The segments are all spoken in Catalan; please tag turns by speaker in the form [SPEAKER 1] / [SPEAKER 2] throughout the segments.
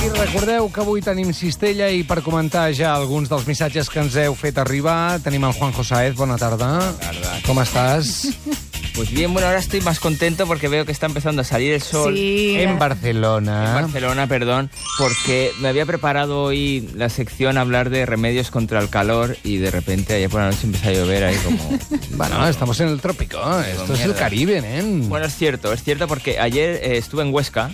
[SPEAKER 1] I recordeu que avui tenim Cistella i per comentar ja alguns dels missatges que ens heu fet arribar tenim el Juanjo Saez, bona tarda.
[SPEAKER 2] tarda.
[SPEAKER 1] Com estàs?
[SPEAKER 2] Pues bien, bueno, ahora estoy más contento porque veo que está empezando a salir el sol.
[SPEAKER 3] Sí.
[SPEAKER 1] en Barcelona.
[SPEAKER 2] En Barcelona, perdón, porque me había preparado hoy la sección a hablar de remedios contra el calor y de repente ayer por la noche empezó a llover ahí como...
[SPEAKER 1] Bueno, estamos en el trópico. Esto es el
[SPEAKER 2] mierda.
[SPEAKER 1] Caribe, nen.
[SPEAKER 2] Bueno, es cierto, es cierto porque ayer eh, estuve en Huesca,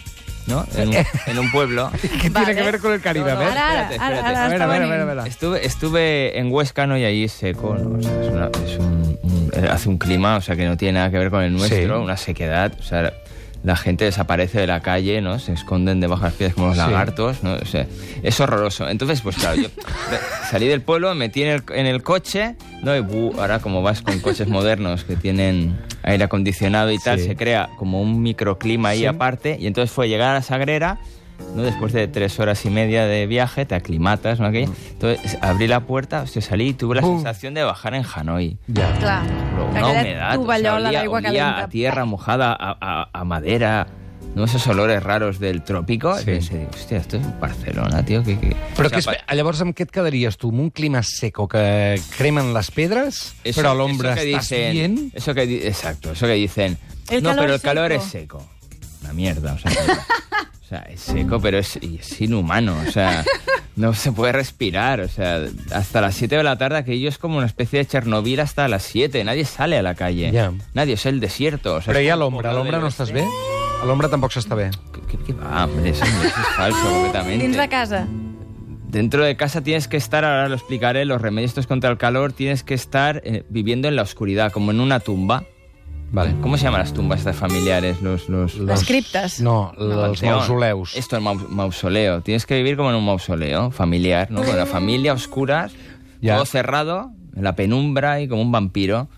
[SPEAKER 2] ¿no? En un, en un pueblo.
[SPEAKER 1] ¿Qué tiene
[SPEAKER 3] Vale.
[SPEAKER 1] que ver con el Caribe? A
[SPEAKER 2] No, no,
[SPEAKER 1] ver,
[SPEAKER 3] Ara, ara,
[SPEAKER 2] espérate,
[SPEAKER 3] ara,
[SPEAKER 2] espérate.
[SPEAKER 3] ara
[SPEAKER 1] a ver,
[SPEAKER 3] està
[SPEAKER 1] a ver, a
[SPEAKER 3] venint.
[SPEAKER 1] ver, a ver.
[SPEAKER 2] Estuve, estuve en Huesca, ¿no? Y allí seco, ¿no? O sea, es una- es un- un- eh, hace un clima, o sea, que no tiene nada que ver con el nuestro,
[SPEAKER 1] Sí.
[SPEAKER 2] una sequedad, o sea, la gente desaparece de la calle, ¿no? Se esconden debajo de las piedras como los
[SPEAKER 1] Sí.
[SPEAKER 2] lagartos, ¿no? O sea, es horroroso. Entonces, pues claro, yo de- salí del pueblo, me metí en el, en el coche, ¿no? Y buh, ahora como vas con coches modernos que tienen aire acondicionado y tal,
[SPEAKER 1] Sí.
[SPEAKER 2] se crea como un microclima ahí
[SPEAKER 1] Sí.
[SPEAKER 2] aparte, y entonces fue llegar a la Sagrera, ¿no? después de tres horas y media de viaje, te aclimatas, ¿no? Aquello.
[SPEAKER 1] Mm.
[SPEAKER 2] Entonces abrí la puerta, hostia, salí y tuve la
[SPEAKER 1] Bum.
[SPEAKER 2] sensación de bajar en Hanoi.
[SPEAKER 1] Ja.
[SPEAKER 3] Clar,
[SPEAKER 2] Pero una
[SPEAKER 3] aquella
[SPEAKER 2] humedad, o sea,
[SPEAKER 3] tovallola
[SPEAKER 2] olía-
[SPEAKER 3] d'aigua
[SPEAKER 2] olía
[SPEAKER 3] calenta.
[SPEAKER 2] a tierra mojada, a, a- a madera, no esos olores raros del trópico.
[SPEAKER 1] Sí.
[SPEAKER 2] Y pensé, digo, hostia, esto es Barcelona, tío. Que, que...
[SPEAKER 1] Però
[SPEAKER 2] O sea,
[SPEAKER 1] que, espe- llavors amb què et quedaries tu? Amb un clima seco que cremen les pedres,
[SPEAKER 2] Eso-
[SPEAKER 1] però a l'ombra
[SPEAKER 2] eso que
[SPEAKER 1] estàs
[SPEAKER 2] dicen-
[SPEAKER 1] bien?
[SPEAKER 2] Eso que, di- exacto, eso que dicen.
[SPEAKER 3] El
[SPEAKER 2] no,
[SPEAKER 3] calor
[SPEAKER 2] pero el
[SPEAKER 3] es
[SPEAKER 2] calor es
[SPEAKER 3] seco".
[SPEAKER 2] seco. Una mierda, o sea. que- o sea, es seco, pero es, y es inhumano, o sea. No se puede respirar, o sea, hasta las 7 de la tarde aquello es como una especie de Chernobyl hasta las 7, nadie sale a la calle.
[SPEAKER 1] Ya.
[SPEAKER 2] Nadie, es el desierto. O sea,
[SPEAKER 1] Però
[SPEAKER 2] es
[SPEAKER 1] i a
[SPEAKER 2] un
[SPEAKER 1] l'ombra? A
[SPEAKER 2] poblado
[SPEAKER 1] l'ombra
[SPEAKER 2] de
[SPEAKER 1] no
[SPEAKER 2] oeste.
[SPEAKER 1] estàs bé? A l'ombra tampoc s'està bé.
[SPEAKER 2] ¿Qué, qué- qué va, hombre? Eso, eso es falso completamente.
[SPEAKER 3] Ah, Dins de casa.
[SPEAKER 2] Dentro de casa tienes que estar, ahora lo explicaré, los remedios estos contra el calor, tienes que estar eh, viviendo en la oscuridad, como en una tumba.
[SPEAKER 1] Vale.
[SPEAKER 2] ¿Cómo se llaman las tumbas estas familiares? Los, los,
[SPEAKER 1] Los-
[SPEAKER 3] Les criptes.
[SPEAKER 1] No, els
[SPEAKER 2] Panteón.
[SPEAKER 1] mausoleus.
[SPEAKER 2] Esto es maus- mausoleo. Tienes que vivir como en un mausoleo familiar, ¿no? Con la familia, a oscuras,
[SPEAKER 1] Ya.
[SPEAKER 2] todo cerrado, en la penumbra y como un vampiro.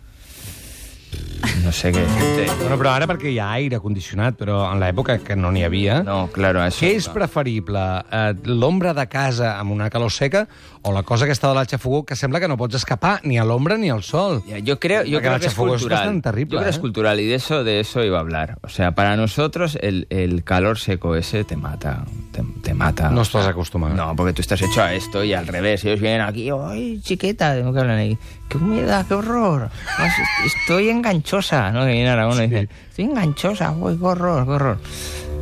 [SPEAKER 2] No sé qué decirte.
[SPEAKER 1] Bueno, però ara perquè hi ha aire condicionat, però en l'època que no n'hi havia...
[SPEAKER 2] No, claro, a eso.
[SPEAKER 1] Què és
[SPEAKER 2] iba.
[SPEAKER 1] preferible? Eh, L'ombra de casa amb una calor seca o la cosa que està de l'aixafogó que sembla que no pots escapar ni a l'ombra ni al sol?
[SPEAKER 2] Ya, Yo creo,
[SPEAKER 1] Porque
[SPEAKER 2] yo creo
[SPEAKER 1] la
[SPEAKER 2] que es
[SPEAKER 1] chafugo es
[SPEAKER 2] cultural.
[SPEAKER 1] bastante terrible,
[SPEAKER 2] yo creo que es
[SPEAKER 1] ¿eh?
[SPEAKER 2] cultural y de eso, de eso iba a hablar. O sea, para nosotros el, el calor seco ese te mata, te, te mata.
[SPEAKER 1] No estàs acostumat.
[SPEAKER 2] No, porque tú estás hecho a esto y al revés. Ellos vienen aquí, ¡ay, chiqueta! Tengo que hablan ahí. ¡Qué humedad, qué horror! Ay, Estoy enganchosa, ¿no? Que viene ahora uno y dice, estoy enganchosa, uy, qué horror, qué horror.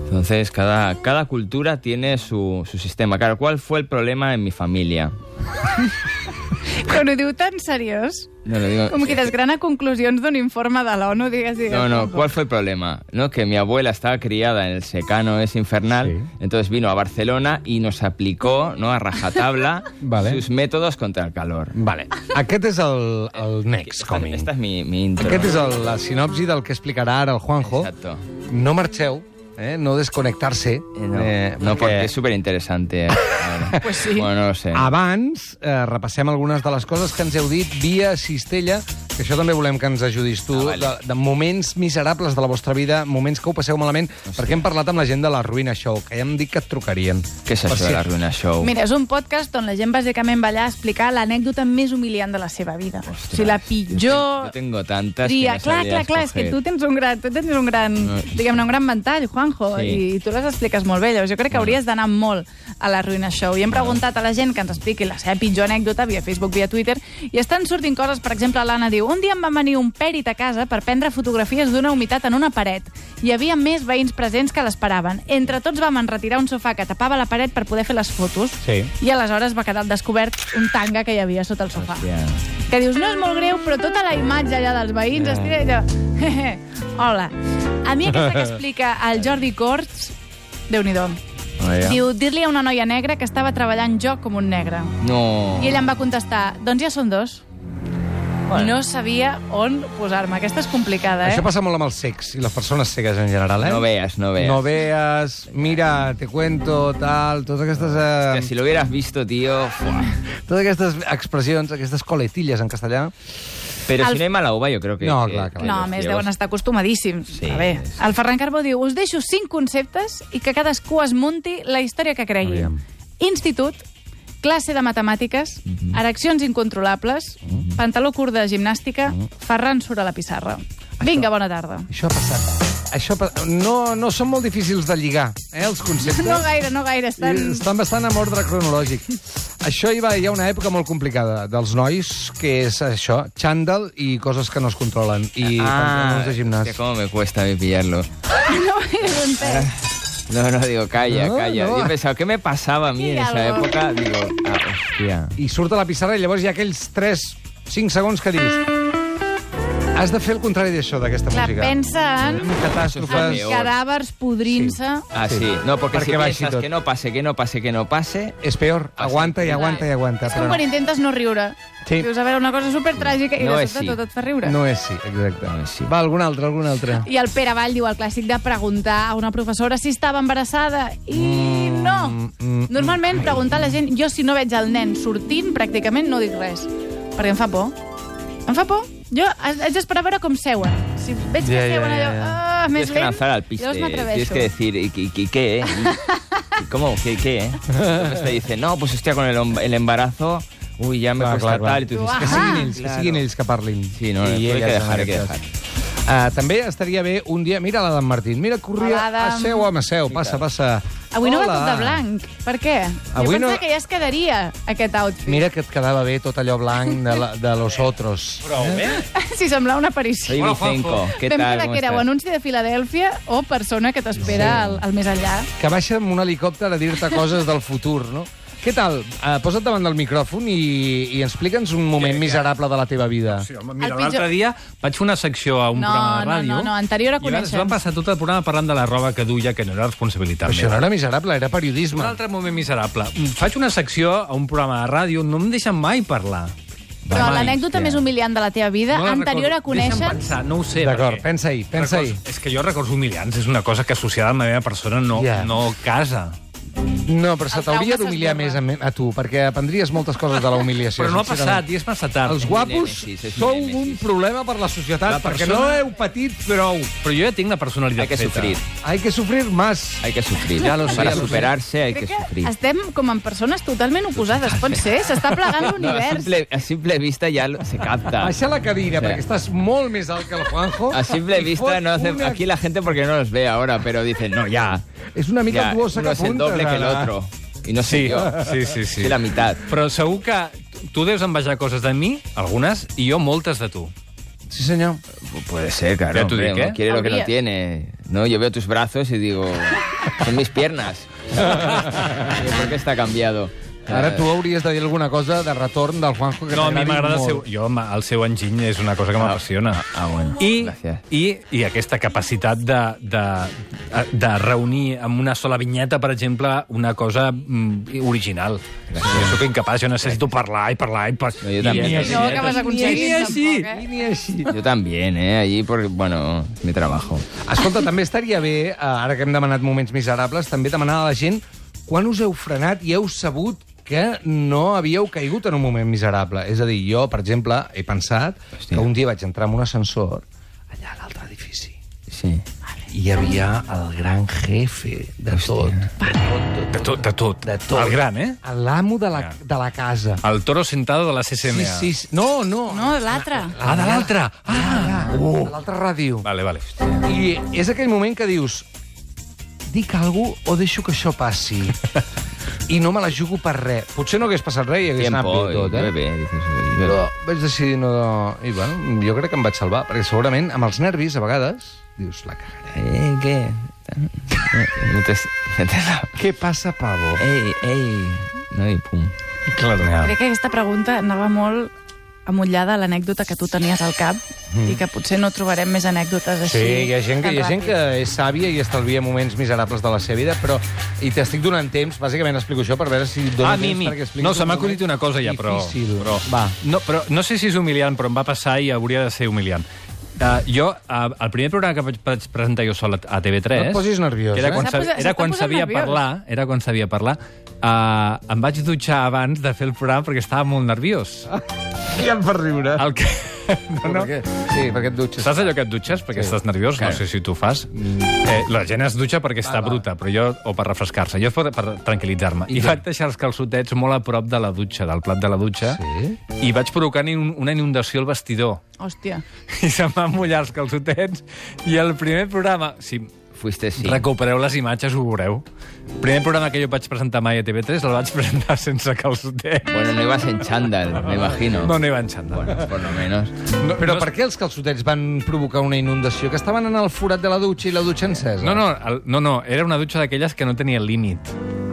[SPEAKER 2] Entonces, cada, cada cultura tiene su, su sistema. Claro, ¿cuál fue el problema en mi familia?
[SPEAKER 3] Però no ho diu tan seriós.
[SPEAKER 2] No lo digo. eh,
[SPEAKER 3] Com que desgrana conclusions d'un informe de l'ONU, digues, digues.
[SPEAKER 2] No, no,
[SPEAKER 3] tampoc.
[SPEAKER 2] ¿cuál fue el problema? No, que mi abuela estaba criada en el secano es infernal,
[SPEAKER 1] Sí.
[SPEAKER 2] entonces vino a Barcelona y nos aplicó, ¿no? a rajatabla
[SPEAKER 1] Vale.
[SPEAKER 2] sus métodos contra el calor.
[SPEAKER 1] Vale. Aquest és el, el next
[SPEAKER 2] Esta,
[SPEAKER 1] coming.
[SPEAKER 2] esta es mi, mi intro.
[SPEAKER 1] Aquest és el, la sinopsi del que explicarà ara el Juanjo.
[SPEAKER 2] Exacto.
[SPEAKER 1] No marxeu, eh? no desconnectar-se.
[SPEAKER 2] Eh, No, no, porque es súper interesante.
[SPEAKER 3] Pues sí.
[SPEAKER 2] Bueno, no lo sé.
[SPEAKER 1] Ah, Abans, eh, repassem algunes de les coses que ens heu dit via Cistella, que això també volem que ens ajudis tu,
[SPEAKER 2] Ah, vale.
[SPEAKER 1] de, de moments miserables de la vostra vida, moments que ho passeu malament, perquè hem parlat amb la gent de la Ruïna Show, que ja hem dit que et trucarien.
[SPEAKER 2] ¿Qué es eso
[SPEAKER 1] Per
[SPEAKER 2] de
[SPEAKER 1] si-
[SPEAKER 2] la ruina show?
[SPEAKER 3] Mira, és un podcast on la gent bàsicament va allà a explicar l'anècdota més humiliant de la seva vida.
[SPEAKER 2] Ostres,
[SPEAKER 3] o sigui, la
[SPEAKER 2] Yo
[SPEAKER 3] pitjor...
[SPEAKER 2] tengo tantas. que
[SPEAKER 3] Tria,
[SPEAKER 2] no
[SPEAKER 3] clar,
[SPEAKER 2] sabría
[SPEAKER 3] clar, clar, és que
[SPEAKER 2] escoger.
[SPEAKER 3] tu tens un gran, tu tens un gran,
[SPEAKER 2] No, sí.
[SPEAKER 3] diguem-ne, un gran ventall, Juanjo,
[SPEAKER 2] Sí.
[SPEAKER 3] i tu les expliques molt bé. Llavors jo crec que hauries d'anar molt a la Ruïna Show. I hem preguntat a la gent que ens expliqui la seva pitjor anècdota via Facebook, via Twitter, i estan sortint coses, per exemple, l'Anna diu, un dia em va venir un pèrit a casa per prendre fotografies d'una humitat en una paret. Hi havia més veïns presents que l'esperaven. Entre tots vam enretirar un sofà que tapava la paret per poder fer les fotos,
[SPEAKER 1] Sí.
[SPEAKER 3] i aleshores va quedar al descobert un tanga que hi havia sota el sofà
[SPEAKER 2] Hòstia.
[SPEAKER 3] que dius, no és molt greu, però tota la imatge allà dels veïns es tira allò... Hehe, Hola. A mi aquesta que explica el Jordi Corts, déu nhi
[SPEAKER 2] Vaya.
[SPEAKER 3] Diu, dir-li a una noia negra que estava treballant jo com un negre.
[SPEAKER 2] No.
[SPEAKER 3] I ella em va contestar, doncs ja són dos. No sabia on posar-me. Aquesta és complicada, eh?
[SPEAKER 1] Això passa molt amb els secs i les persones cegues en general, eh?
[SPEAKER 2] No veas, no veas.
[SPEAKER 1] No veas, mira, te cuento, tal, totes aquestes...
[SPEAKER 2] Hostia,
[SPEAKER 1] Eh...
[SPEAKER 2] Si lo hubieras visto, tío. fuah.
[SPEAKER 1] Totes aquestes expressions, aquestes coletilles en castellà...
[SPEAKER 2] Pero si
[SPEAKER 3] Al-
[SPEAKER 2] no hay mala uva, yo creo que...
[SPEAKER 1] No,
[SPEAKER 2] que-
[SPEAKER 1] clar, clar.
[SPEAKER 2] que
[SPEAKER 3] No,
[SPEAKER 2] los
[SPEAKER 3] a més,
[SPEAKER 2] ciegos-
[SPEAKER 3] deuen estar acostumadíssims.
[SPEAKER 2] Sí,
[SPEAKER 3] a bé,
[SPEAKER 2] sí.
[SPEAKER 3] el Ferran Carbó diu us deixo cinc conceptes i que cadascú es munti la història que cregui.
[SPEAKER 1] Aviam.
[SPEAKER 3] Institut, classe de matemàtiques,
[SPEAKER 2] Mhm.
[SPEAKER 3] ereccions incontrolables,
[SPEAKER 2] Mhm.
[SPEAKER 3] pantaló curt de gimnàstica, Ferran surt a la pissarra. Vinga, bona tarda.
[SPEAKER 1] Això ha passat. Això pa- no, no són molt difícils de lligar, eh, els conceptes.
[SPEAKER 3] No gaire, no gaire. Estan...
[SPEAKER 1] I Estan bastant amb ordre cronològic. Això hi va, hi ha una època molt complicada dels nois, que és això, xandall i coses que no es controlen, i
[SPEAKER 3] Ah,
[SPEAKER 1] pantalones de gimnàs.
[SPEAKER 2] Ah, hostia, cómo me cuesta a mí pillarlo.
[SPEAKER 3] No gaire ben
[SPEAKER 2] Eh,
[SPEAKER 3] pes.
[SPEAKER 2] No, no, digo, calla,
[SPEAKER 1] No,
[SPEAKER 2] calla.
[SPEAKER 1] no.
[SPEAKER 2] Yo pensaba, ¿qué me pasaba a mí en esa
[SPEAKER 3] Míralo.
[SPEAKER 2] época? Digo, ah, hostia.
[SPEAKER 1] I surt a la pissarra i llavors hi ha aquells 3, 5 segons que dius... Has de fer el contrari d'això, d'aquesta
[SPEAKER 3] Clar,
[SPEAKER 1] música.
[SPEAKER 3] pensa en,
[SPEAKER 1] En Catàstrofes...
[SPEAKER 3] en cadàvers podrint-se.
[SPEAKER 2] Ah,
[SPEAKER 1] Sí.
[SPEAKER 2] doncs- sí. No, porque
[SPEAKER 1] Perquè
[SPEAKER 2] si
[SPEAKER 1] va
[SPEAKER 2] piensas
[SPEAKER 1] així tot.
[SPEAKER 2] que no pase, que no pase, que no pase...
[SPEAKER 1] És peor.
[SPEAKER 3] Ah,
[SPEAKER 1] Aguanta i aguanta i aguanta.
[SPEAKER 3] És com quan intentes no riure.
[SPEAKER 1] Sí.
[SPEAKER 3] Dius, a veure, una cosa supertràgica i
[SPEAKER 2] No
[SPEAKER 3] de
[SPEAKER 2] és sí.
[SPEAKER 3] sobte tot et fa riure.
[SPEAKER 1] No és sí, exacte.
[SPEAKER 2] No és sí.
[SPEAKER 1] Va, algun altre, algun altre.
[SPEAKER 3] I el Pere Vall diu el clàssic de preguntar a una professora si estava embarassada. I no.
[SPEAKER 1] mm,
[SPEAKER 3] Normalment, preguntar a la gent... Jo, si no veig el nen sortint, pràcticament no dic res. Perquè em fa por. Em fa por. Jo haig d'esperar a veure com seuen. Si veig que
[SPEAKER 1] Ja, ja,
[SPEAKER 3] seuen
[SPEAKER 1] ja,
[SPEAKER 3] allò...
[SPEAKER 1] ja.
[SPEAKER 3] Ah,
[SPEAKER 2] Tienes
[SPEAKER 3] més
[SPEAKER 2] que
[SPEAKER 3] lent,
[SPEAKER 2] lanzar al piste.
[SPEAKER 3] llavors
[SPEAKER 2] Tienes que
[SPEAKER 3] m'atreveixo.
[SPEAKER 2] decir, ¿y, y- y qué? eh? ¿Y- y ¿Cómo? ¿Qué? qué eh? Entonces te dice, no, pues hostia, con el, hom- el embarazo, uy, ya me
[SPEAKER 1] Claro,
[SPEAKER 2] cuesta
[SPEAKER 1] claro,
[SPEAKER 2] tal. Y tú dices,
[SPEAKER 3] Ah, claro.
[SPEAKER 1] Que siguin ells, que
[SPEAKER 2] Claro.
[SPEAKER 1] siguin ells que parlin.
[SPEAKER 2] Sí, no, no,
[SPEAKER 1] I
[SPEAKER 2] tu hay que
[SPEAKER 1] elles,
[SPEAKER 2] dejar,
[SPEAKER 1] en
[SPEAKER 2] hay que
[SPEAKER 1] aquest
[SPEAKER 2] dejar.
[SPEAKER 1] cas. Ah, també estaria bé un dia... Mira l'Adam Martín, mira, corria...
[SPEAKER 3] Hola, Adam.
[SPEAKER 1] Asseu, home, asseu, passa, passa.
[SPEAKER 3] Avui no va
[SPEAKER 1] Hola.
[SPEAKER 3] tot de blanc. Per què?
[SPEAKER 1] Avui
[SPEAKER 3] jo pensava
[SPEAKER 1] no-
[SPEAKER 3] que ja es quedaria aquest outfit.
[SPEAKER 1] Mira que et quedava bé tot allò blanc de, la, de los otros.
[SPEAKER 4] Eh?
[SPEAKER 3] Si semblava una aparició.
[SPEAKER 2] Soy Vicenco, ¿qué
[SPEAKER 3] Vam
[SPEAKER 2] tal?
[SPEAKER 3] quedar
[SPEAKER 2] ¿Cómo
[SPEAKER 3] que era o
[SPEAKER 2] estás?
[SPEAKER 3] anunci de Filadèlfia o persona que t'espera al, al més enllà.
[SPEAKER 1] que baixa amb un helicòpter a dir-te coses del futur, no? Què tal? Uh, posa't davant del micròfon i, i explica'ns un moment miserable de la teva vida.
[SPEAKER 4] Sí, home, mira,
[SPEAKER 3] El pitjor-
[SPEAKER 4] l'altre dia vaig fer una secció a un
[SPEAKER 3] No,
[SPEAKER 4] programa de
[SPEAKER 3] no,
[SPEAKER 4] ràdio...
[SPEAKER 3] no, no, anterior a
[SPEAKER 4] I van- es
[SPEAKER 3] Coneixem.
[SPEAKER 4] van passar tot el programa parlant de la roba que duia, que no era responsabilitat
[SPEAKER 1] Però això no
[SPEAKER 4] meva.
[SPEAKER 1] era miserable, era periodisme.
[SPEAKER 4] Un altre moment miserable. Mm, Faig una secció a un programa de ràdio, no em deixen mai parlar.
[SPEAKER 3] Però
[SPEAKER 4] Mai.
[SPEAKER 3] l'anècdota més humiliant de la teva vida,
[SPEAKER 4] la
[SPEAKER 3] anterior
[SPEAKER 4] recordo.
[SPEAKER 3] a conèixer...
[SPEAKER 4] Deixa'm pensar, no ho sé.
[SPEAKER 1] D'acord,
[SPEAKER 4] perquè
[SPEAKER 1] pensa-hi, pensa-hi.
[SPEAKER 4] records- És que jo records humiliants és una cosa que associada amb la meva persona no,
[SPEAKER 1] Ja.
[SPEAKER 4] no casa.
[SPEAKER 1] No, però se
[SPEAKER 3] El trauma
[SPEAKER 1] t'hauria d'humiliar més a,
[SPEAKER 3] s'esborra.
[SPEAKER 1] mi- a tu, perquè aprendries moltes coses de la humiliació.
[SPEAKER 4] Però no ha
[SPEAKER 1] sincerament.
[SPEAKER 4] passat, i és massa tard.
[SPEAKER 1] Els guapos
[SPEAKER 2] nèmesis, és
[SPEAKER 1] sou
[SPEAKER 2] nèmesis.
[SPEAKER 1] un problema per la societat,
[SPEAKER 4] La
[SPEAKER 1] perquè
[SPEAKER 4] persona-
[SPEAKER 1] no heu patit prou.
[SPEAKER 4] Però jo ja tinc la personalitat
[SPEAKER 2] Hay que
[SPEAKER 4] feta.
[SPEAKER 2] sufrir,
[SPEAKER 1] Hay que sufrir más.
[SPEAKER 2] hay que sufrir.
[SPEAKER 1] Ya lo sé,
[SPEAKER 2] Para
[SPEAKER 1] ya lo sé.
[SPEAKER 2] superarse hay que
[SPEAKER 3] Crec que
[SPEAKER 2] sufrir.
[SPEAKER 3] estem com en persones totalment oposades, pot ser? S'està plegant
[SPEAKER 2] No, a,
[SPEAKER 3] l'univers.
[SPEAKER 2] simple, a simple vista ya lo- se capta.
[SPEAKER 1] Baixa la cadira,
[SPEAKER 2] O sea,
[SPEAKER 1] perquè estàs molt més alt que el Juanjo.
[SPEAKER 2] Ah. A simple
[SPEAKER 1] i
[SPEAKER 2] vista
[SPEAKER 1] fot
[SPEAKER 2] no hace...
[SPEAKER 1] una-
[SPEAKER 2] Aquí la gente porque no los ve ahora, pero dicen, no, ya.
[SPEAKER 1] És una mica
[SPEAKER 2] ya
[SPEAKER 1] tuosa
[SPEAKER 2] uno
[SPEAKER 1] que
[SPEAKER 2] es el
[SPEAKER 1] apuntes.
[SPEAKER 2] doble que el
[SPEAKER 1] ara.
[SPEAKER 2] otro. Y no sé
[SPEAKER 4] Sí,
[SPEAKER 2] yo.
[SPEAKER 4] sí, sí, sí.
[SPEAKER 2] Soy la mitad.
[SPEAKER 4] Però segur que tu deus envejar coses de mi, algunes, i jo moltes de tu.
[SPEAKER 1] Sí, senyor.
[SPEAKER 2] Puede ser, claro.
[SPEAKER 4] Ya tú
[SPEAKER 2] hombre,
[SPEAKER 4] di qué.
[SPEAKER 2] uno quiere lo que
[SPEAKER 3] Habría.
[SPEAKER 2] no tiene. No, yo veo tus brazos y digo, son mis piernas. Digo, ¿Por qué está cambiado?
[SPEAKER 1] Ara
[SPEAKER 2] Eh.
[SPEAKER 1] tu hauries de dir alguna cosa de retorn del Juanjo que
[SPEAKER 4] No, a mi
[SPEAKER 1] t'agradi
[SPEAKER 4] m'agrada el
[SPEAKER 1] molt.
[SPEAKER 4] seu... Jo, ma- el seu enginy és una cosa que m'apassiona.
[SPEAKER 2] Ah, bueno.
[SPEAKER 4] I,
[SPEAKER 2] Gràcies.
[SPEAKER 4] i, I aquesta capacitat de, de, de reunir amb una sola vinyeta, per exemple, una cosa mm, original. Jo sóc incapaç, jo necessito parlar i parlar i parlar.
[SPEAKER 2] No, jo també.
[SPEAKER 4] I,
[SPEAKER 3] No ho acabes aconseguint, tampoc, eh?
[SPEAKER 1] Ni així.
[SPEAKER 2] Yo también, ¿eh? Allí, porque, bueno, mi trabajo.
[SPEAKER 1] Escolta, també estaria bé, eh, ara que hem demanat moments miserables, també demanar a la gent quan us heu frenat i heu sabut que no havíeu caigut en un moment miserable. És a dir, jo, per exemple, he pensat que
[SPEAKER 2] Hòstia.
[SPEAKER 1] un dia vaig entrar en un ascensor allà a l'altre edifici
[SPEAKER 2] Sí.
[SPEAKER 1] i hi havia el gran jefe de tot.
[SPEAKER 4] De tot, de tot.
[SPEAKER 1] De tot.
[SPEAKER 4] El gran, eh?
[SPEAKER 1] L'amo de, la, de la casa.
[SPEAKER 4] El toro sentado de la
[SPEAKER 1] Sí,
[SPEAKER 4] CCMA.
[SPEAKER 1] sí, sí. No, no.
[SPEAKER 3] No, l'altre.
[SPEAKER 4] Ah, de l'altre. Ah!
[SPEAKER 1] Uh. L'altra ràdio.
[SPEAKER 4] Vale, vale.
[SPEAKER 1] I és aquell moment que dius dic alguna o deixo que això passi i no me la jugo per res. Potser no hagués passat res i hagués
[SPEAKER 2] Tiempo,
[SPEAKER 1] anat bé
[SPEAKER 2] y
[SPEAKER 1] tot, eh?
[SPEAKER 2] bebé, dices, y bebé.
[SPEAKER 1] Però vaig decidir no... I bueno, jo crec que em vaig salvar, perquè segurament amb els nervis, a vegades, dius, la cagaré.
[SPEAKER 2] Eh, ¿Qué? No te, no te la-
[SPEAKER 1] Què passa, Pavo?
[SPEAKER 2] Ey, ey. No, y pum.
[SPEAKER 4] Eh, Claro.
[SPEAKER 3] Crec que aquesta pregunta anava molt amullada a l'anècdota que tu tenies al cap i que potser no trobarem més anècdotes així.
[SPEAKER 1] Sí, hi ha gent que,
[SPEAKER 3] tan
[SPEAKER 1] hi ha gent que
[SPEAKER 3] ràpid.
[SPEAKER 1] és sàvia i estalvia moments miserables de la seva vida, però... I t'estic donant temps, bàsicament explico això, per veure si et dono
[SPEAKER 4] Ah,
[SPEAKER 1] temps
[SPEAKER 4] Mimi.
[SPEAKER 1] perquè expliquis...
[SPEAKER 4] No, se
[SPEAKER 1] un
[SPEAKER 4] m'ha
[SPEAKER 1] moment
[SPEAKER 4] acudit una cosa ja, però...
[SPEAKER 1] Difícil.
[SPEAKER 4] però
[SPEAKER 1] Va.
[SPEAKER 4] No, però no sé si és humiliant, però em va passar i hauria de ser humiliant. Uh, jo, uh, el primer programa que vaig, vaig presentar jo sol a, a TV3...
[SPEAKER 1] No et posis nerviós,
[SPEAKER 4] que era
[SPEAKER 1] eh?
[SPEAKER 4] quan,
[SPEAKER 3] S'ha
[SPEAKER 4] sab-
[SPEAKER 3] posat-
[SPEAKER 4] era
[SPEAKER 3] s'està
[SPEAKER 4] quan
[SPEAKER 3] posant
[SPEAKER 4] sabia
[SPEAKER 3] nerviós.
[SPEAKER 4] parlar, era quan sabia parlar, uh, em vaig dutxar abans de fer el programa perquè estava molt nerviós.
[SPEAKER 1] Ja em fa riure.
[SPEAKER 4] El que...
[SPEAKER 1] No,
[SPEAKER 5] Per
[SPEAKER 1] no.
[SPEAKER 5] què?
[SPEAKER 1] Sí, perquè et dutxes.
[SPEAKER 4] Saps allò que et dutxes perquè sí. estàs nerviós?
[SPEAKER 1] Clar.
[SPEAKER 4] No sé si tu ho fas. Eh, la gent es dutxa perquè està bruta, però jo, o per refrescar-se, jo per, per tranquil·litzar-me. I, vaig deixar els calçotets molt a prop de la dutxa, del plat de la dutxa,
[SPEAKER 1] Sí?
[SPEAKER 4] i vaig provocar in- una inundació al vestidor.
[SPEAKER 3] Hòstia.
[SPEAKER 4] I se'm van mullar els calçotets, i el primer programa... Si
[SPEAKER 2] Fuiste sí.
[SPEAKER 4] sí. recupereu les imatges, ho veureu. El primer programa que jo vaig presentar mai a TV3 el vaig presentar sense calçotets.
[SPEAKER 2] Bueno, no ibas en chándal, me imagino.
[SPEAKER 4] No, no hi van xandall.
[SPEAKER 2] Bueno, por lo menos.
[SPEAKER 1] No, però per què els calçotets van provocar una inundació? Que estaven en el forat de la dutxa i la dutxa encesa?
[SPEAKER 4] No, no, el, no, no, era una dutxa d'aquelles que no tenia límit,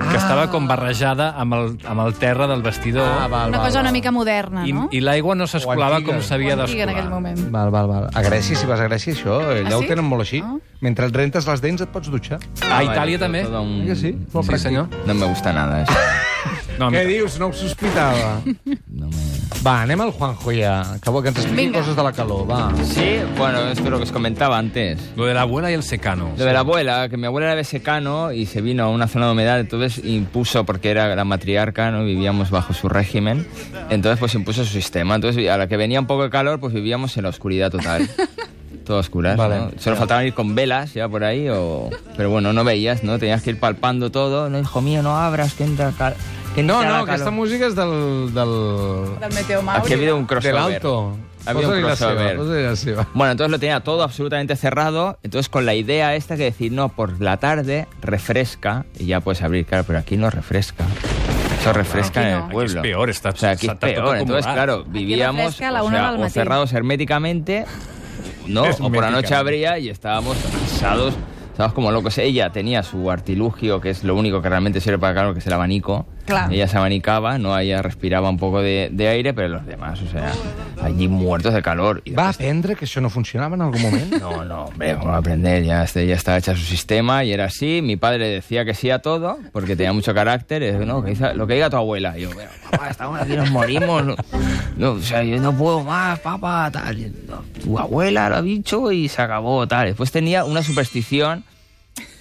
[SPEAKER 4] ah. que estava com barrejada amb el, amb el terra del vestidor
[SPEAKER 1] Ah, val,
[SPEAKER 3] Una
[SPEAKER 1] val,
[SPEAKER 3] cosa
[SPEAKER 1] val.
[SPEAKER 3] una mica moderna,
[SPEAKER 4] i,
[SPEAKER 3] Ah, no?
[SPEAKER 4] i l'aigua
[SPEAKER 1] O
[SPEAKER 4] no s'escolava
[SPEAKER 1] antiga.
[SPEAKER 4] com s'havia
[SPEAKER 3] Ho antiga en aquell
[SPEAKER 4] d'escolar.
[SPEAKER 3] moment.
[SPEAKER 1] Val, val, val. A Grècia, si vas a Grècia, això, allà
[SPEAKER 3] Ah,
[SPEAKER 1] ho
[SPEAKER 3] sí?
[SPEAKER 1] tenen molt així.
[SPEAKER 3] Ah.
[SPEAKER 1] Mentre et rentes les dents et pots dutxar.
[SPEAKER 4] A Itàlia
[SPEAKER 2] Ah, Todo-
[SPEAKER 4] també.
[SPEAKER 2] todo un-
[SPEAKER 1] Que sí? Molt
[SPEAKER 4] Sí,
[SPEAKER 1] pràctic.
[SPEAKER 4] senyor.
[SPEAKER 2] No me gusta nada eso.
[SPEAKER 4] No, a mi-
[SPEAKER 1] dius? No ho sospitava.
[SPEAKER 2] No me-
[SPEAKER 1] va, anem al Juanjo ja, que vol que ens expliqui
[SPEAKER 3] Vinga.
[SPEAKER 1] coses de la calor, va.
[SPEAKER 2] Sí, bueno, esto es lo que os comentaba antes.
[SPEAKER 4] Lo de l'abuela i el secano.
[SPEAKER 2] Lo de la abuela, que mi abuela era de secano y se vino a una zona de humedad, entonces impuso, porque era la matriarca, ¿no? vivíamos bajo su régimen, entonces pues impuso su sistema. Entonces a la que venía un poco de calor, pues vivíamos en la oscuridad total. Todo a oscuras,
[SPEAKER 1] Vale.
[SPEAKER 2] ¿no? Solo faltaban ir con velas ya por ahí, o... pero bueno, no veías, ¿no? Tenías que ir palpando todo, no, hijo mío, no abras, que entra cal... que
[SPEAKER 1] No,
[SPEAKER 2] entra
[SPEAKER 1] no,
[SPEAKER 2] la
[SPEAKER 1] aquesta
[SPEAKER 2] calor.
[SPEAKER 1] música és del... del...
[SPEAKER 3] Del Meteo Mauri.
[SPEAKER 2] Aquí ha habido un
[SPEAKER 1] de
[SPEAKER 2] crossover.
[SPEAKER 1] l'alto.
[SPEAKER 2] Ha habido un
[SPEAKER 1] Posa-li la seva,
[SPEAKER 2] crossover.
[SPEAKER 1] posa-li la seva.
[SPEAKER 2] Bueno, entonces lo tenía todo absolutamente cerrado, entonces con la idea esta que decir, no, por la tarde refresca, y ya puedes abrir, claro, pero aquí no refresca. Eso refresca
[SPEAKER 3] Aquí
[SPEAKER 2] en
[SPEAKER 3] no.
[SPEAKER 2] el
[SPEAKER 3] Aquí
[SPEAKER 4] es
[SPEAKER 2] pueblo.
[SPEAKER 4] peor, está-
[SPEAKER 2] O sea, aquí es
[SPEAKER 4] está todo
[SPEAKER 2] peor, entonces
[SPEAKER 4] acumulado.
[SPEAKER 2] claro,
[SPEAKER 3] no
[SPEAKER 2] vivíamos
[SPEAKER 3] fresca a la
[SPEAKER 2] o
[SPEAKER 3] una
[SPEAKER 2] sea,
[SPEAKER 3] del
[SPEAKER 2] o
[SPEAKER 3] matí.
[SPEAKER 2] cerrados herméticamente, no, o por la noche
[SPEAKER 4] Herméticamente.
[SPEAKER 2] abría y estábamos asados, estábamos como locos. Ella tenía su artilugio, que es lo único que realmente sirve para calor, que es el abanico.
[SPEAKER 3] Claro.
[SPEAKER 2] Ella se abanicaba, no, ella respiraba un poco de, de aire, pero los demás, o sea, allí muertos de calor. Y
[SPEAKER 1] Va aprendre que això no funcionava en algun moment?
[SPEAKER 2] no, no, hombre, vamos a aprender. Ya, este, ya estaba hecha su sistema y era así. Mi padre decía que sí a todo porque tenía mucho carácter. Es, no, que dice- lo que diga tu abuela. Y yo, bueno, papá, estamos aquí, nos morimos. No, No, o sea, yo no puedo más, papá, tal. Y, no, tu abuela lo ha dicho y se acabó, tal. Después tenía una superstición.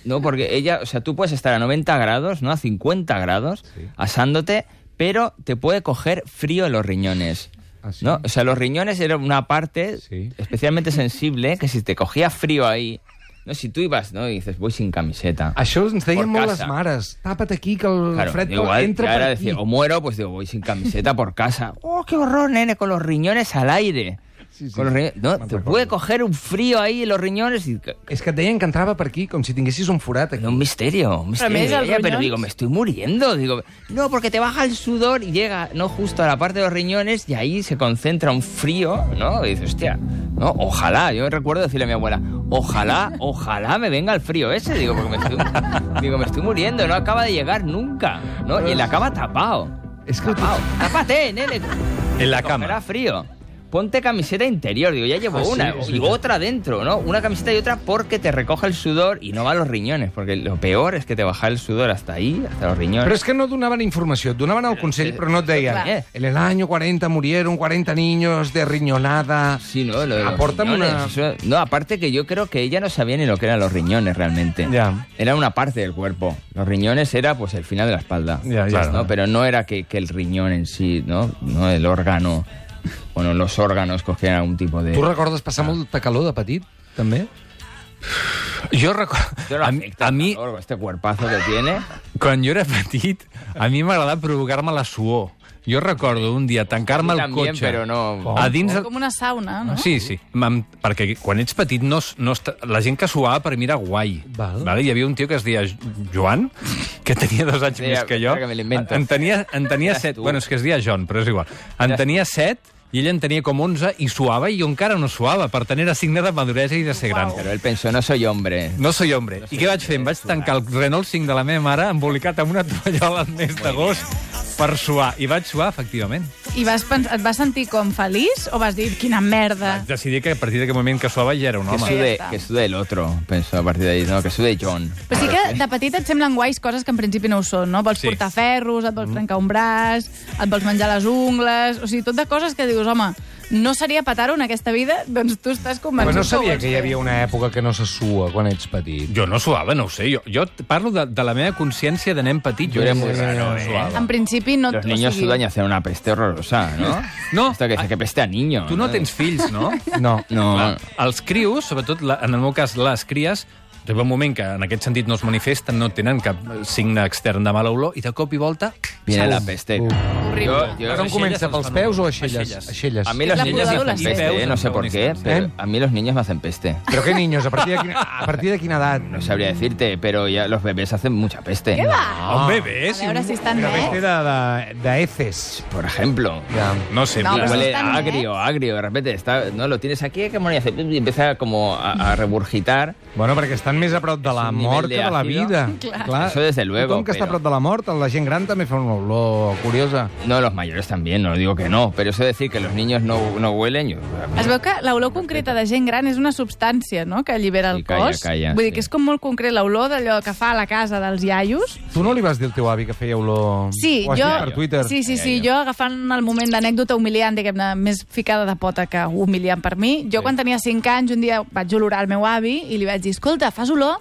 [SPEAKER 2] No, porque ella, o sea, tú puedes estar a 90 grados, ¿no? A 50 grados, asándote, pero te puede coger frío en los riñones.
[SPEAKER 1] Ah, sí.
[SPEAKER 2] ¿no? O sea, los riñones era una parte
[SPEAKER 1] Sí.
[SPEAKER 2] especialmente sensible que si te cogía frío ahí, no, si tú ibas, ¿no? Y dices, voy sin camiseta.
[SPEAKER 1] Això ens deien
[SPEAKER 2] Por
[SPEAKER 1] molt
[SPEAKER 2] casa.
[SPEAKER 1] les mares. Tapa't aquí, que el
[SPEAKER 2] Claro,
[SPEAKER 1] fred
[SPEAKER 2] igual,
[SPEAKER 1] entra
[SPEAKER 2] ya era
[SPEAKER 1] per aquí.
[SPEAKER 2] decir, o muero, pues digo, voy sin camiseta por casa. ¡Oh, qué horror, nene! Con los riñones al aire.
[SPEAKER 1] Sí, sí.
[SPEAKER 2] Con los riñones- no, te puede coger un frío ahí en los riñones y
[SPEAKER 1] És que et deien que entrava per aquí, com si tinguessis un forat aquí.
[SPEAKER 2] Era un misterio, un misterio.
[SPEAKER 3] més, els
[SPEAKER 2] Ella, pero
[SPEAKER 3] riñones?
[SPEAKER 2] digo, me estoy muriendo. Digo, no, porque te baja el sudor y llega, no, justo a la parte de los riñones y ahí se concentra un frío, ¿no? Y dices, hostia, no, ojalá. Yo recuerdo decirle a mi abuela, ojalá, ojalá me venga el frío ese. Digo, porque me estoy, digo, me estoy muriendo, no acaba de llegar nunca, ¿no? Y en la cama tapado.
[SPEAKER 1] És que...
[SPEAKER 2] Tapado. Tápate, eh, nene.
[SPEAKER 4] En la
[SPEAKER 2] Cogerá
[SPEAKER 4] cama.
[SPEAKER 2] frío. Ponte camiseta interior, digo, ya llevo
[SPEAKER 1] Ah, sí,
[SPEAKER 2] una,
[SPEAKER 1] es
[SPEAKER 2] y
[SPEAKER 1] verdad.
[SPEAKER 2] otra dentro, ¿no? Una camiseta y otra porque te recoge el sudor y no va a los riñones, porque lo peor es que te baja el sudor hasta ahí, hasta los riñones.
[SPEAKER 1] Però és que no et donaven informació, et donaven el consell, però no et deien
[SPEAKER 2] Clar.
[SPEAKER 1] eh, en el año 40 murieron 40 niños de riñonada...
[SPEAKER 2] Sí, no, lo de los
[SPEAKER 1] Apórtame
[SPEAKER 2] riñones,
[SPEAKER 1] una-
[SPEAKER 2] eso- No, aparte que yo creo que ella no sabía ni lo que eran los riñones realmente.
[SPEAKER 1] Ya.
[SPEAKER 2] Era una parte del cuerpo. Los riñones era pues el final de la espalda.
[SPEAKER 1] Ya, ya.
[SPEAKER 2] ¿no? Pero no era que, que el riñón en sí, ¿no? No el órgano. Bueno, los órganos cogían algún tipo de.
[SPEAKER 1] Tu recordes
[SPEAKER 2] Ah.
[SPEAKER 1] passar molta calor de petit, també?
[SPEAKER 4] Jo recordo...
[SPEAKER 2] Pero
[SPEAKER 4] A, mi-
[SPEAKER 2] afecta
[SPEAKER 4] a
[SPEAKER 2] el
[SPEAKER 4] mi,
[SPEAKER 2] calor, Este cuerpazo que tiene.
[SPEAKER 4] quan jo era petit, a mi m'agradava provocar-me la suor. Jo recordo un dia tancar-me el
[SPEAKER 2] También,
[SPEAKER 4] cotxe...
[SPEAKER 2] pero no-
[SPEAKER 4] A dins del...
[SPEAKER 3] Com una sauna, no?
[SPEAKER 4] Sí, sí. Mam- perquè quan ets petit no, es- no està, la gent que suava per mi era guai.
[SPEAKER 1] Val.
[SPEAKER 4] Vale? Hi havia un tio que es deia Jo- Joan, que tenia dos anys
[SPEAKER 2] Sí,
[SPEAKER 4] més que jo.
[SPEAKER 2] espera que me l'invento.
[SPEAKER 4] En tenia, en tenia
[SPEAKER 2] Eres
[SPEAKER 4] set.
[SPEAKER 2] tu.
[SPEAKER 4] Bueno, és que es deia John, però és igual. En
[SPEAKER 2] Eres tu.
[SPEAKER 4] tenia set i ell en tenia com 11 i suava i jo encara no suava. Per tant, era signe de maduresa i de ser gran.
[SPEAKER 2] Pero él pensó, no soy hombre.
[SPEAKER 4] No soy hombre. I què vaig fer? Em vaig tancar el Renault 5 de la meva mare embolicat amb una tovallola al mes d'agost per suar. I vaig suar, efectivament.
[SPEAKER 3] I vas pensar, et vas sentir com feliç o vas dir, quina merda?
[SPEAKER 4] Vaig decidir que a partir d'aquell moment que suava ja era un
[SPEAKER 2] Ah. Que
[SPEAKER 4] home.
[SPEAKER 2] sude,
[SPEAKER 3] está.
[SPEAKER 2] que sude el otro, pensó a partir de ahí. No, que sude John.
[SPEAKER 3] Però sí que de petit et semblen guais coses que en principi no ho són, no? Vols
[SPEAKER 4] Sí.
[SPEAKER 3] sí. portar ferros, et vols trencar un braç, et vols menjar les ungles... O sigui, tot de coses que dius, home, no seria petaro en aquesta vida, doncs tu estàs
[SPEAKER 1] Però
[SPEAKER 3] convençut
[SPEAKER 1] no
[SPEAKER 3] ho
[SPEAKER 1] sabia
[SPEAKER 3] vols
[SPEAKER 1] que hi
[SPEAKER 3] fer.
[SPEAKER 1] havia una època que no se sua quan ets petit.
[SPEAKER 4] Jo no suava, no ho sé. Jo, jo t- parlo de, de la meva consciència de nen petit. Jo era molt raro, eh?
[SPEAKER 3] En principi no...
[SPEAKER 2] Los niños sudan y hacen una peste horrorosa, ¿no?
[SPEAKER 4] No.
[SPEAKER 2] Esto que dice que peste a niño.
[SPEAKER 4] Tu no tens fills, no?
[SPEAKER 1] No.
[SPEAKER 2] No.
[SPEAKER 4] Clar, Els crios, sobretot la, en el meu cas les cries, arriba un moment que en aquest sentit no es manifesten, no tenen cap eh, signe extern de mala olor, i de cop i volta...
[SPEAKER 2] Viene
[SPEAKER 4] salum.
[SPEAKER 2] la peste.
[SPEAKER 3] Horrible.
[SPEAKER 2] yo-
[SPEAKER 1] Però on comença,
[SPEAKER 4] Aixelles,
[SPEAKER 1] pels peus o
[SPEAKER 4] aixelles?
[SPEAKER 1] aixelles? Aixelles.
[SPEAKER 2] A mí
[SPEAKER 3] Es
[SPEAKER 2] los
[SPEAKER 3] la
[SPEAKER 2] niños me hacen
[SPEAKER 3] pudadura, sí.
[SPEAKER 2] peste, ¿eh? no sé por qué, pero
[SPEAKER 1] ¿Eh?
[SPEAKER 2] a mí los niños me hacen peste.
[SPEAKER 1] Però què niños? A partir de quina, a partir de quina edat?
[SPEAKER 2] No sabría decirte, pero ya los bebés hacen mucha peste.
[SPEAKER 3] Què va?
[SPEAKER 4] Ah, un bebè,
[SPEAKER 3] A
[SPEAKER 4] sí.
[SPEAKER 3] veure si estan
[SPEAKER 1] Però
[SPEAKER 3] bé.
[SPEAKER 1] més té de, de, de heces.
[SPEAKER 2] Por ejemplo.
[SPEAKER 1] Ja.
[SPEAKER 4] No sé,
[SPEAKER 3] No,
[SPEAKER 4] mira,
[SPEAKER 3] però-
[SPEAKER 2] Huele
[SPEAKER 3] están, ¿eh?
[SPEAKER 2] agrio, agrio, de repente está, no lo tienes aquí, que morir, hace- y empieza como a, a regurgitar.
[SPEAKER 1] Bueno, perquè estan més a prop de la
[SPEAKER 2] És un nivell
[SPEAKER 1] mort que de la
[SPEAKER 2] d'àcido.
[SPEAKER 1] vida.
[SPEAKER 3] Clar.
[SPEAKER 2] Eso desde luego,
[SPEAKER 1] Tothom que està a
[SPEAKER 2] però-
[SPEAKER 1] prop de la mort, la gent gran també fa una olor curiosa.
[SPEAKER 2] No, los mayores también, no digo que no, pero eso de decir que los niños no, no huelen, yo-
[SPEAKER 3] Es veu que l'olor concreta de gent gran és una substància no? que allibera el
[SPEAKER 2] Sí, calla,
[SPEAKER 3] cos.
[SPEAKER 2] calla,
[SPEAKER 3] Vull dir
[SPEAKER 2] sí.
[SPEAKER 3] que és com molt concret l'olor d'allò que fa a la casa dels iaios.
[SPEAKER 1] Tu no li vas dir al teu avi que feia olor...
[SPEAKER 3] Sí,
[SPEAKER 1] Ho has
[SPEAKER 3] jo...
[SPEAKER 1] dit per Twitter.
[SPEAKER 3] Sí, sí, sí,
[SPEAKER 2] Ai, ai,
[SPEAKER 3] jo agafant el moment d'anècdota humiliant, diguem-ne, més ficada de pota que humiliant per mi. Jo quan tenia 5 anys, un dia vaig olorar el meu avi i li vaig dir, escolta, fas olor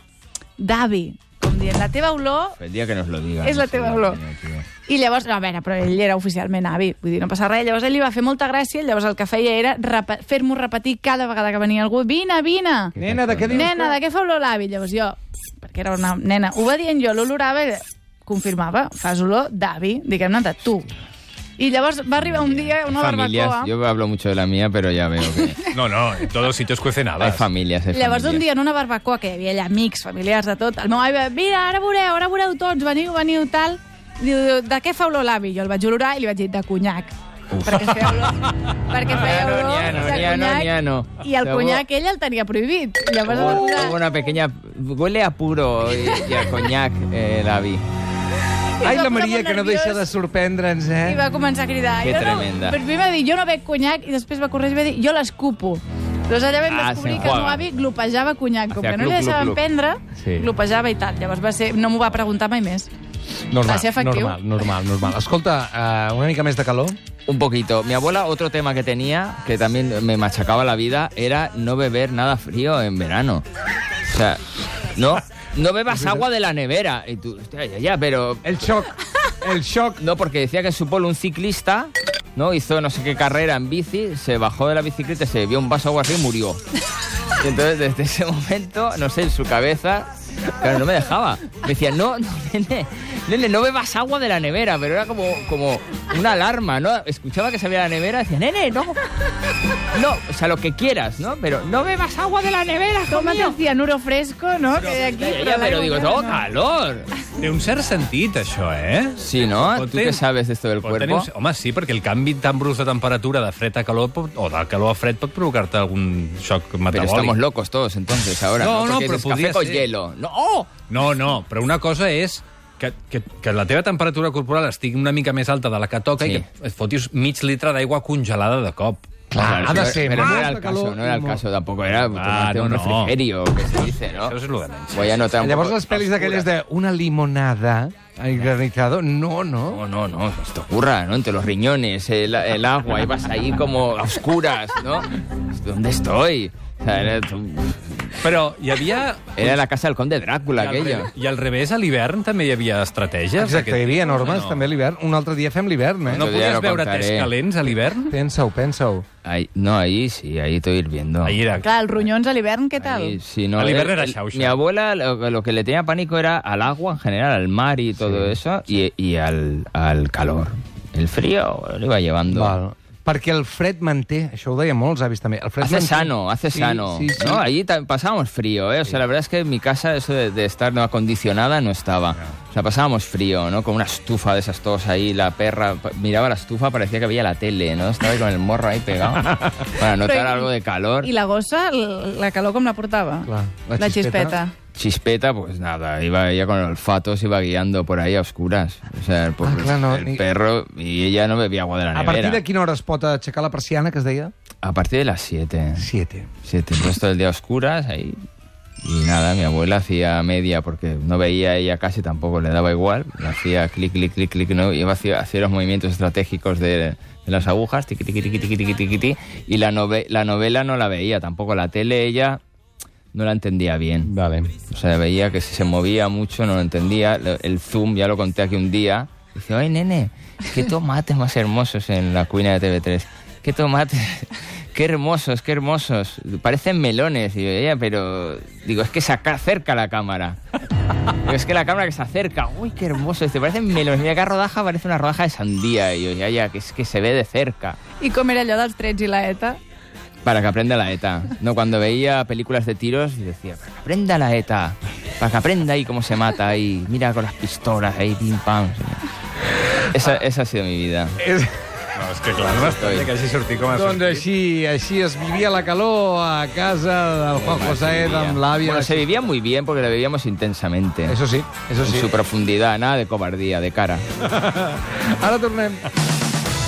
[SPEAKER 3] d'avi. Com dient, la teva olor...
[SPEAKER 2] el día que nos lo digan.
[SPEAKER 3] Es la
[SPEAKER 2] no sé,
[SPEAKER 3] teva olor.
[SPEAKER 2] tío.
[SPEAKER 3] I llavors, no, a veure, però ell era oficialment avi, vull dir, no passa res. Llavors ell li va fer molta gràcia, llavors el que feia era repe- fer-m'ho repetir cada vegada que venia algú, vine, vine,
[SPEAKER 1] Nena, de què dius?
[SPEAKER 3] nena, de què fa olor l'avi? Llavors jo, perquè era una nena, ho va dient jo, l'olorava i confirmava, fas olor d'avi, diguem-ne, de tu. I llavors va arribar un dia una
[SPEAKER 2] familias,
[SPEAKER 3] barbacoa...
[SPEAKER 2] yo hablo mucho de la mía, pero ya veo que
[SPEAKER 4] No, no, en todos sitios cuecen
[SPEAKER 2] hay
[SPEAKER 4] habas.
[SPEAKER 2] familias. hay
[SPEAKER 3] Llavors, un
[SPEAKER 2] familias.
[SPEAKER 3] dia, en una barbacoa, que hi havia allà amics, familiars, de tot, el meu avi va dir, mira, ara veureu, ara veureu tots, veniu, veniu, tal. Diu, de què fa olor l'avi? Jo el vaig olorar i li vaig dir, de conyac. Perquè feia olor, perquè feia
[SPEAKER 2] No,
[SPEAKER 3] olor
[SPEAKER 2] ni ano,
[SPEAKER 3] de
[SPEAKER 2] ni ano,
[SPEAKER 3] conyac,
[SPEAKER 2] ni ano.
[SPEAKER 3] i el
[SPEAKER 2] Segur-
[SPEAKER 3] conyac ell el tenia prohibit. Llavors, eh,
[SPEAKER 2] Hubo-
[SPEAKER 3] va
[SPEAKER 2] hubo
[SPEAKER 3] posar-
[SPEAKER 2] una pequeña... Huele a puro y, y a coñac, eh, la vi.
[SPEAKER 1] Ai,
[SPEAKER 3] es va
[SPEAKER 1] la
[SPEAKER 3] posar
[SPEAKER 1] Maria,
[SPEAKER 3] molt
[SPEAKER 1] que no deixa de
[SPEAKER 3] nerviós.
[SPEAKER 1] sorprendre'ns,
[SPEAKER 3] i
[SPEAKER 1] eh?
[SPEAKER 3] va començar a cridar.
[SPEAKER 2] Que
[SPEAKER 3] jo
[SPEAKER 2] tremenda.
[SPEAKER 3] No, primer va dir, jo no bec conyac, i després va correr i va dir, jo l'escupo. Llavors allà vam
[SPEAKER 2] Ah,
[SPEAKER 3] descobrir
[SPEAKER 2] sí,
[SPEAKER 3] que el meu
[SPEAKER 2] juega.
[SPEAKER 3] avi glopejava conyac, com
[SPEAKER 2] Hacía
[SPEAKER 3] que no li
[SPEAKER 2] glup, glup,
[SPEAKER 3] deixaven
[SPEAKER 2] glup.
[SPEAKER 3] prendre,
[SPEAKER 1] Sí.
[SPEAKER 3] glopejava i tal. Llavors va ser, no m'ho va preguntar mai més.
[SPEAKER 1] Normal,
[SPEAKER 3] Va ser efectiu.
[SPEAKER 1] normal, normal, normal. Escolta, eh, una mica més de calor.
[SPEAKER 2] Un poquito. Mi abuela, otro tema que tenía, que también me machacaba la vida, era no beber nada frío en verano. O sea, no, no bebas agua de la nevera. Y tú, hostia, ya, ya, pero...
[SPEAKER 1] El xoc, el xoc.
[SPEAKER 2] No, porque decía que en su pueblo un ciclista, ¿no? Hizo no sé qué carrera en bici, se bajó de la bicicleta, se bebió un vaso de agua así y murió. Y entonces, desde ese momento, no sé, en su cabeza, claro, no me dejaba. Me decía, no, no, nene, nene, no bebas agua de la nevera, pero era como, como una alarma, ¿no? Escuchaba que se abría la nevera, decía, nene, no, no, o sea, lo que quieras, ¿no? Pero no bebas agua de la nevera, hijo
[SPEAKER 3] Com et
[SPEAKER 2] mío.
[SPEAKER 3] decía, Nuro Fresco, no? que hi ha aquí,
[SPEAKER 2] Ya, ya, ya, pero
[SPEAKER 3] l'aigua
[SPEAKER 2] digo,
[SPEAKER 3] no.
[SPEAKER 2] no, calor.
[SPEAKER 4] Té un cert sentit, això, eh?
[SPEAKER 2] Sí, ¿no? ¿Tú qué sabes de esto del
[SPEAKER 4] Pot tenir
[SPEAKER 2] cuerpo?
[SPEAKER 4] un- Home, sí, perquè el canvi tan brusc de temperatura de fred a calor pot, o de calor a fred pot provocar-te algun xoc
[SPEAKER 2] Pero
[SPEAKER 4] metabòlic.
[SPEAKER 2] estamos locos todos entonces ahora.
[SPEAKER 4] No,
[SPEAKER 2] No,
[SPEAKER 4] no,
[SPEAKER 2] Porque
[SPEAKER 4] pero
[SPEAKER 2] dices, café
[SPEAKER 4] podría
[SPEAKER 2] con
[SPEAKER 4] ser.
[SPEAKER 2] hielo. No, ¡oh!
[SPEAKER 4] No, no, però una cosa és que, que, que la teva temperatura corporal estigui una mica més alta de la que toca
[SPEAKER 2] Sí.
[SPEAKER 4] sí. i que et fotis mig litre d'aigua congelada de cop.
[SPEAKER 1] Clar, ha de ser
[SPEAKER 2] Pero
[SPEAKER 1] más
[SPEAKER 2] no era
[SPEAKER 1] de
[SPEAKER 2] el
[SPEAKER 1] calor
[SPEAKER 2] caso, no era
[SPEAKER 1] y
[SPEAKER 2] el
[SPEAKER 1] mo-
[SPEAKER 2] caso tampoco. Era
[SPEAKER 4] Ah,
[SPEAKER 2] tomarte un
[SPEAKER 4] no, no.
[SPEAKER 2] refrigerio, que se dice, ¿no?
[SPEAKER 4] Això és el de menys.
[SPEAKER 2] Voy a anotar un
[SPEAKER 1] Llavors
[SPEAKER 2] poco-
[SPEAKER 1] les pel·lis d'aquelles de una limonada, el granizado, no, no.
[SPEAKER 2] No, no, no, esto ocurra, ¿no? Entre los riñones, el, el agua, y vas ahí como a oscuras, ¿no? ¿Dónde estoy? O sea, era,
[SPEAKER 4] Però hi havia...
[SPEAKER 2] era la casa del conde Drácula
[SPEAKER 4] I al,
[SPEAKER 2] aquella.
[SPEAKER 4] re- I al revés, a l'hivern també hi havia estratègies.
[SPEAKER 1] Exacte, hi havia normes, també a l'hivern. Un altre dia fem l'hivern, eh?
[SPEAKER 4] No
[SPEAKER 2] Otro dia
[SPEAKER 4] podies
[SPEAKER 2] lo
[SPEAKER 4] veure tes
[SPEAKER 2] contaré.
[SPEAKER 4] calents a l'hivern?
[SPEAKER 1] Pensa-ho, pensa-ho.
[SPEAKER 2] Ahí- no, ahí sí, ahí estoy hirviendo.
[SPEAKER 4] Ahir era...
[SPEAKER 3] Clar, els ronyons a l'hivern, què tal?
[SPEAKER 2] Ahí, sí, no,
[SPEAKER 4] Al
[SPEAKER 2] él-
[SPEAKER 4] hibernar era
[SPEAKER 2] él-
[SPEAKER 4] Shawshank.
[SPEAKER 2] Mi abuela lo, lo que le tenía pánico era al agua en general, al mar y todo eso, y, y al, al calor. El frío lo iba llevando.
[SPEAKER 1] Val. Perquè el fred manté, això ho deien molts avis també. El fred
[SPEAKER 2] Hace
[SPEAKER 1] manté.
[SPEAKER 2] sano, hace sano.
[SPEAKER 1] Sí, sí.
[SPEAKER 2] ¿no? Allí tam- pasábamos frío, ¿eh? O sea, la verdad es que en mi casa eso de, de estar no acondicionada no estaba. O sea, pasábamos frío, ¿no? Con una estufa de esas todos ahí, la perra pa- miraba la estufa, parecía que veía la tele, ¿no? Estaba ahí con el morro ahí pegado para notar
[SPEAKER 3] Però i-
[SPEAKER 2] algo de calor.
[SPEAKER 3] I la gossa, l- la calor com la portava?
[SPEAKER 1] Clar, la
[SPEAKER 3] la, la
[SPEAKER 1] xispeta.
[SPEAKER 3] xispeta.
[SPEAKER 2] Chispeta, pues nada, iba ella con el olfato, se iba guiando por ahí a oscuras. O sea, el, pobre-
[SPEAKER 1] Ah, claro, no,
[SPEAKER 2] el
[SPEAKER 1] ni-
[SPEAKER 2] perro y ella no bebía agua de la
[SPEAKER 1] A
[SPEAKER 2] nevera.
[SPEAKER 1] partir de quina hora es pot aixecar la persiana, que es deia?
[SPEAKER 2] A partir de las 7.
[SPEAKER 1] 7.
[SPEAKER 2] 7, pues todo el día a oscuras, ahí Y nada, mi abuela hacía media porque no veía ella casi, tampoco le daba igual. Le hacía clic, clic, clic, clic, ¿no? Iba hacia, hacia los movimientos estratégicos de, de las agujas, tiqui, tiqui, tiqui, tiqui, tiqui, tiqui, tiqui, Y la, nove- la novela no la veía tampoco. La tele ella no la entendía bien.
[SPEAKER 1] Vale.
[SPEAKER 2] O sea, veía que si se movía mucho no lo entendía. Lo- El zoom, ya lo conté aquí un día. Dice, ay, nene, qué tomates más hermosos en la cuina de TV3. Qué tomates, qué hermosos, qué hermosos. Parecen melones. Y yo, ella, pero... Digo, es que se aca- acerca la cámara. Digo, es que la cámara que se acerca. Uy, qué hermoso. Dice, parecen melones. Mira, cada rodaja parece una rodaja de sandía. Y yo, ya, ya, que es que se ve de cerca.
[SPEAKER 3] I com era allò dels trets i la ETA?
[SPEAKER 2] Para que aprenda la ETA. No, cuando veía películas de tiros y decía, para que aprenda la ETA, para que aprenda ahí cómo se mata, ahí, mira con las pistolas, ahí, pim, pam. Esa, esa ha sido mi vida.
[SPEAKER 1] És...
[SPEAKER 4] No, és que clar, no m'estranya que hagi sortit com a
[SPEAKER 1] Doncs així, així es vivia la calor a casa del Juan José amb l'àvia.
[SPEAKER 2] Bueno, se vivía muy bien porque la vivíamos intensamente.
[SPEAKER 1] Eso sí, eso
[SPEAKER 2] En
[SPEAKER 1] sí.
[SPEAKER 2] su profundidad, nada de cobardía, de cara.
[SPEAKER 1] Ara tornem.